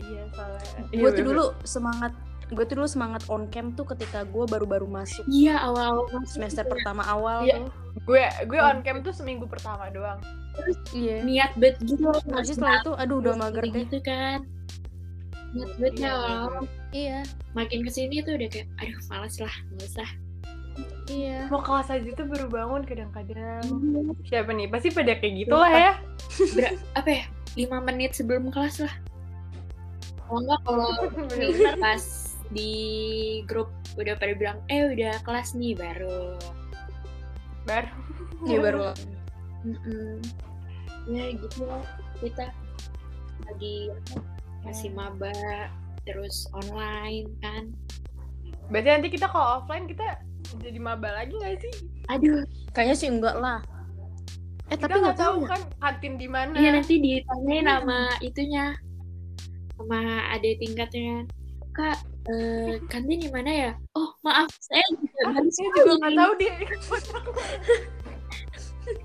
Iya soalnya. gue tuh dulu semangat gue tuh dulu semangat on cam tuh ketika gue baru-baru masuk Iya gitu. awal semester pertama awal Iya. tuh Gue gue on cam tuh seminggu pertama doang. iya niat bet gitu loh. Terus Iya, setelah itu aduh udah Makin mager deh gitu kan. Niat betnya Iya, awal-awal. iya makin kesini tuh udah kayak aduh malas lah nggak usah. iya Mau kelas aja tuh baru bangun kadang-kadang. Hmm. Siapa nih? Pasti pada kayak gitulah ya. Ber- apa ya lima menit sebelum kelas lah. Kalau nggak kalau Bener. ini pas di grup udah pada bilang eh udah kelas nih baru. Baru. iya baru Mm-mm. Ya gitu lah kita lagi apa, masih Hmm. maba terus online kan. Berarti nanti kita kalau offline kita jadi maba lagi nggak sih? Aduh kayaknya sih enggak lah eh Kita tapi nggak nggak tahu tahu ya. kan kantin di mana. Iya nanti ditanyain sama itunya sama adik tingkatnya. Kak, eh, kantin di mana ya? Oh, maaf, saya juga Iya. baru Ah, Saya juga sekali." nggak tahu deh.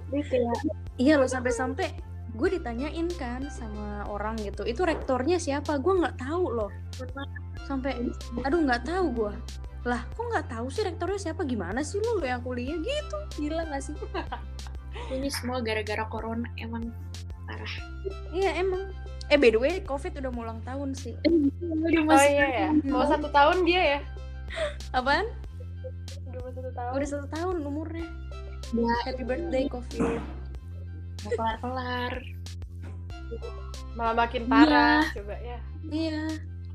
Dia kayak, iya loh sampai-sampai gue ditanyain kan sama orang gitu itu rektornya siapa gue nggak tahu loh "Mohon maaf, sampai aduh nggak tahu gue lah kok nggak tahu sih rektornya siapa gimana sih lu yang kuliah gitu gila nggak sih ini semua gara-gara corona emang iya emang eh by the way covid udah mau ulang tahun sih udah Oh masuk iya ya. Mau satu tahun dia ya. apaan Udah mau satu tahun. udah satu tahun umurnya Ya. happy birthday covid nggak kelar-kelar. Malah makin Iya. parah. Coba ya. iya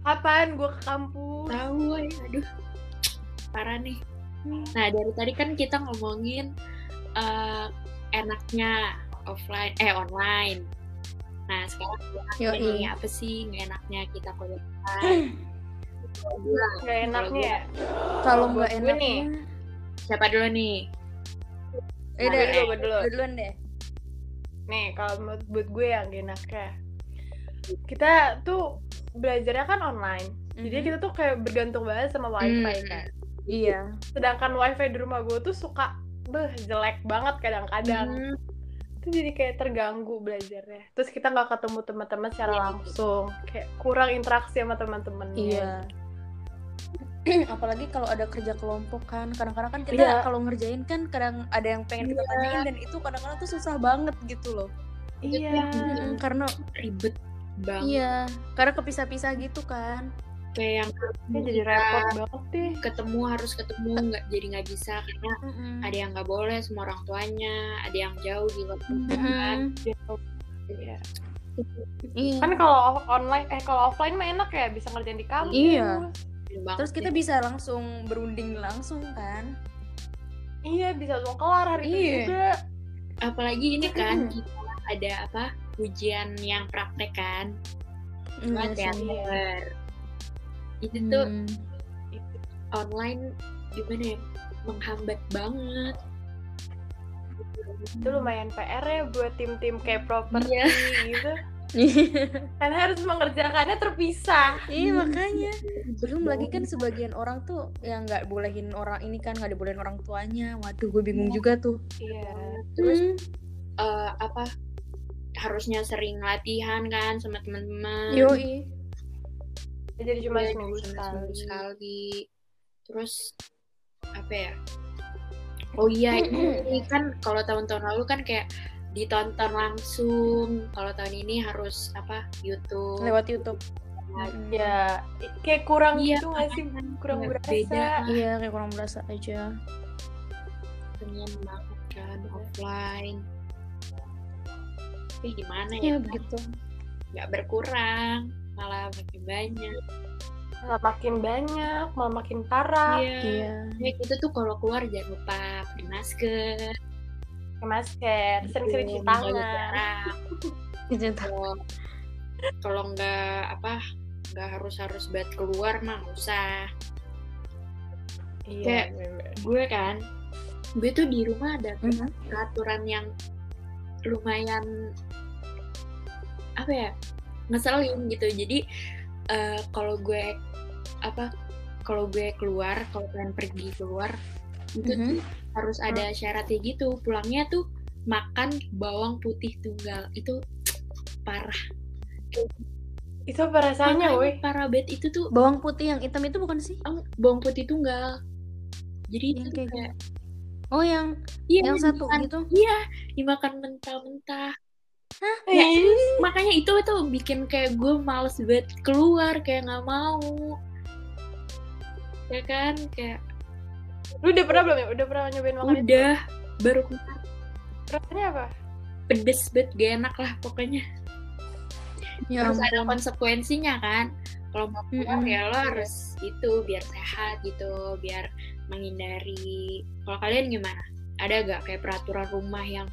Kapan gue ke kampus? Tahu ya, aduh. Parah nih. Nah, dari tadi kan kita ngomongin eh, enaknya offline eh online. Nah, sekarang yo ini apa sih nggak enaknya kita kuliah online? Bilang, Gak enaknya ya. kalau nggak Buat gue enak nih. siapa dulu nih eh Gue deh dulu, gue dulu. gue duluan deh Nih, kalau menurut buat gue yang gak enaknya. Kita tuh belajarnya kan online. Jadi Mhm. kita tuh kayak bergantung banget sama wifi Hmm. kan. iya Sedangkan wifi di rumah gue tuh suka beh jelek banget kadang-kadang. Hmm, Mm-hmm. Itu jadi kayak terganggu belajarnya. Terus kita nggak ketemu teman-teman secara Iya. langsung. Kayak kurang interaksi sama teman-teman. Iya. Apalagi kalau ada kerja kelompok kan, kadang-kadang kan kita Iya. kalau ngerjain kan kadang ada yang pengen kita Iya. tanyain dan itu kadang-kadang tuh susah banget gitu loh. Iya. Mm-mm, karena ribet banget iya, karena kepisah-pisah gitu kan. kayak yang Ini jadi Iya. repot banget deh. ketemu harus ketemu nggak jadi nggak bisa karena Hmm. Mm-mm. ada yang nggak boleh sama orang tuanya ada yang jauh di luar Mhm. kota, kan Mm-mm. Hmm. Iya. Iya. Kan kalau off- online eh kalau offline mah enak ya bisa ngerjain di kampus. Iya. Banget Terus kita deh. bisa langsung berunding langsung kan. Iya, bisa langsung kelar hari Iya. itu juga. apalagi ini kan kita ada apa ujian yang praktek kan buat Iya yang sih. paper. itu Hmm. tuh online gimana ya menghambat banget Itu lumayan PR ya buat tim-tim kayak properti Iya. gitu. Karena harus mengerjakannya terpisah. Iya makanya. Belum lagi kan sebagian orang tuh yang nggak bolehin orang ini kan nggak dibolehin orang tuanya. Waduh, gue bingung juga tuh. Iya. terus Mm. eh, apa harusnya sering latihan kan sama teman-teman Yoi. Jadi cuma Iya, seminggu cuma sekali. seminggu sekali. terus apa ya oh iya ini kan kalau tahun-tahun lalu kan kayak ditonton langsung kalau tahun ini harus apa YouTube Lewat YouTube. Ya, i- kayak kurang Iya, gitu nggak sih? Kurang Iya, berasa. beda. Iya, kayak kurang berasa aja. pengen banget kan offline tapi gimana ya Iya begitu. nggak berkurang malah makin banyak Malah makin banyak, malah makin parah. iya Jadi kita tuh kalau keluar jangan lupa pakai masker Pakai masker, sering-sering cuci menjaga tangan. jarak. kalau kalau nggak apa nggak harus harus banget keluar mah nggak usah Iya. Kayak- gue kan gue tuh di rumah ada Mhm. peraturan yang lumayan apa ya ngeselin gitu jadi eh, kalau gue apa kalau gue keluar kalau pengen pergi keluar itu Mhm. Hmm. tuh harus ada syaratnya gitu pulangnya tuh makan bawang putih tunggal itu parah Itu apa rasanya, Makanya woi? parabet itu tuh Bawang putih yang hitam itu bukan sih? em, bawang putih tunggal. Jadi itu Yang Iya, kayak, kayak Oh yang iya, yang satu dimakan- gitu. Iya, dimakan mentah-mentah. Iya. Makanya itu itu bikin kayak gue males banget keluar, kayak nggak mau. Ya kan, kayak Lu udah pernah belum ya? Udah pernah nyobain makan itu? udah baru Rasanya apa? pedes banget, gak enak lah pokoknya. Ya Terus ada ampun. konsekuensinya kan. Kalau mau keluar Mm-mm. ya lo harus itu biar sehat gitu, biar menghindari. Kalau kalian gimana? Ada gak kayak peraturan rumah yang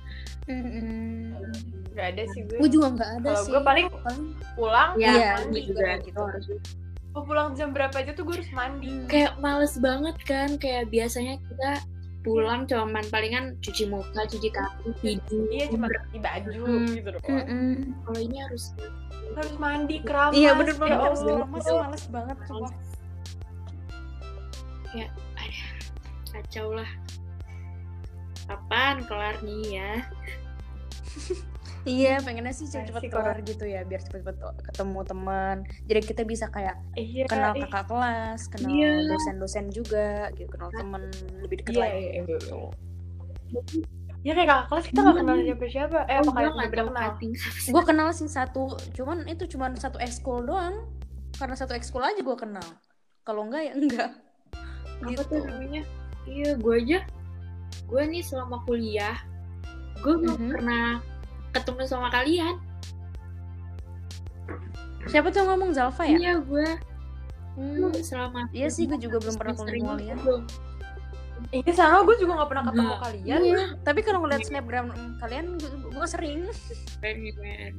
Mm-mm. Gak ada sih gue. Gue juga nggak ada Kalau sih. gue paling Paling pulang, Ya, terus Iya, mandi. gue juga gitu. harus Mau pulang jam berapa aja tuh gue harus mandi. kayak males banget kan kayak biasanya kita pulang cuman palingan cuci muka cuci kaki tidur Iya cuma ganti baju Hmm. gitu loh. Mm-mm. kalau ini harus Harus mandi keramas. Iya bener ya banget. Allah. Terus lemas, males banget sumpah. ya ada kacau lah kapan kelar nih ya Iya pengennya sih cepet-cepet Asik keluar gitu ya biar cepet-cepet ketemu teman. Jadi kita bisa kayak Iya. kenal ih, kakak kelas, kenal Iya. dosen-dosen juga, gitu kenal temen lebih dekat Iya, lagi. iya, iya. gitu. Ya kayak kakak kelas kita gak kenal siapa-siapa. Eh, Oh, apa kalian udah ada pernah kenal? cutting Gue kenal sih satu, cuman itu cuman satu ekskul doang. Karena satu ekskul aja gue kenal. Kalau enggak ya enggak. apa Gitu. tuh namanya iya gue aja gue nih selama kuliah gue nggak Mhm. pernah ketemu sama kalian Siapa tuh yang ngomong Zalfa ya? iya gue Hmm. selama Iya sih, gue juga belum pernah semester ini ketemu kalian. belum Iya sama, gue juga gak pernah ketemu Enggak. kalian. Iya. Tapi kalau ngeliat snapgram kalian, gue sering. pengen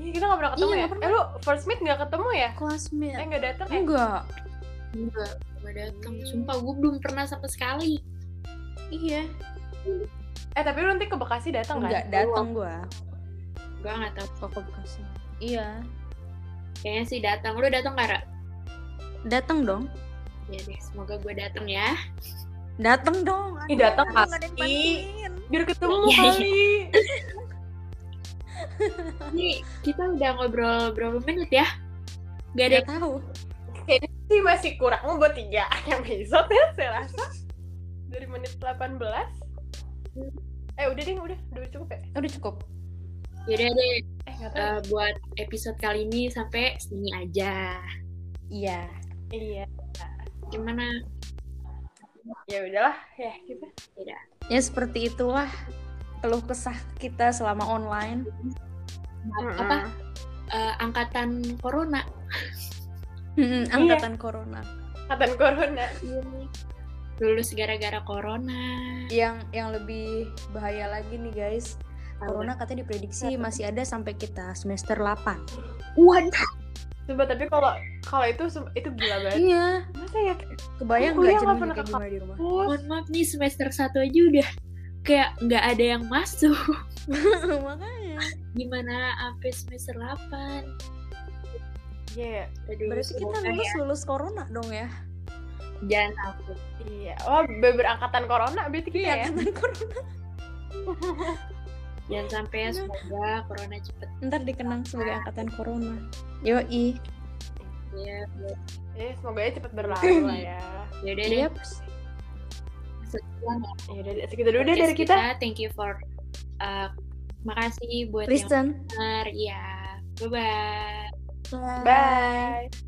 Iya, kita gak pernah ketemu Iya, ya? nggak pernah. Iya. Hmm. Eh, lu first meet gak ketemu ya? Eh, Classmate. gak dateng ya? Enggak. Enggak, enggak Iya, datang. Sumpah, gue belum pernah sama sekali. Iya. Eh, tapi lu nanti ke Bekasi dateng kan? Enggak datang gue. Gue nggak tahu. Kok ke Bekasi? Iya. Kayaknya sih datang. Lu datang nggak, Ra? Datang dong. Ya deh, semoga gue datang ya. Datang dong. Ih, datang Aduh, nggak ada yang pasti. bantuin. Biar ketemu Iya, iya. kali. Ini kita udah ngobrol berapa menit ya? Gak ada. Gak tahu. Kayaknya sih masih kurang buat tiga episode ya, saya rasa. Dari menit 18. Eh, udah deh, udah. Udah cukup ya? Udah cukup. Yaudah deh, Eh, gak tau. eh, buat episode kali ini sampai sini aja. Iya. Iya. Gimana? Ya udahlah, ya gitu. Ya seperti itulah keluh kesah kita selama online. Apa? Eh, angkatan corona. Iya. Mm-mm, angkatan corona. Angkatan corona. Iya. Lulus gara-gara corona. Yang yang lebih bahaya lagi nih guys. Corona katanya diprediksi masih ada sampai kita semester 8. Waduh. Coba tapi kalau kalau itu sem- itu gila banget. Iya. Masa ya Kebayang Aku nggak kuliah nggak jenuhnya pernah kayak ke gimana di rumah? kampus? Mohon maaf nih semester 1 aja udah kayak nggak ada yang masuk. Makanya. Gimana sampai semester 8? Iya. Aduh, Berarti kita semoga lulus lulus corona dong ya. Jangan aku. Iya. Oh, berangkatan corona berarti kita ya. Angkatan corona. Jangan sampai ya, Iya. semoga corona cepet Ntar dikenang sebagai angkatan corona. Yoi. ya. Eh, semoga aja cepet berlalu lah ya. Yaudah deh. Yep. Sekian Ya udah, segitu dulu deh podcast dari kita. Thank you for uh, makasih buat yang Listen. denger. Iya. Bye bye. Bye.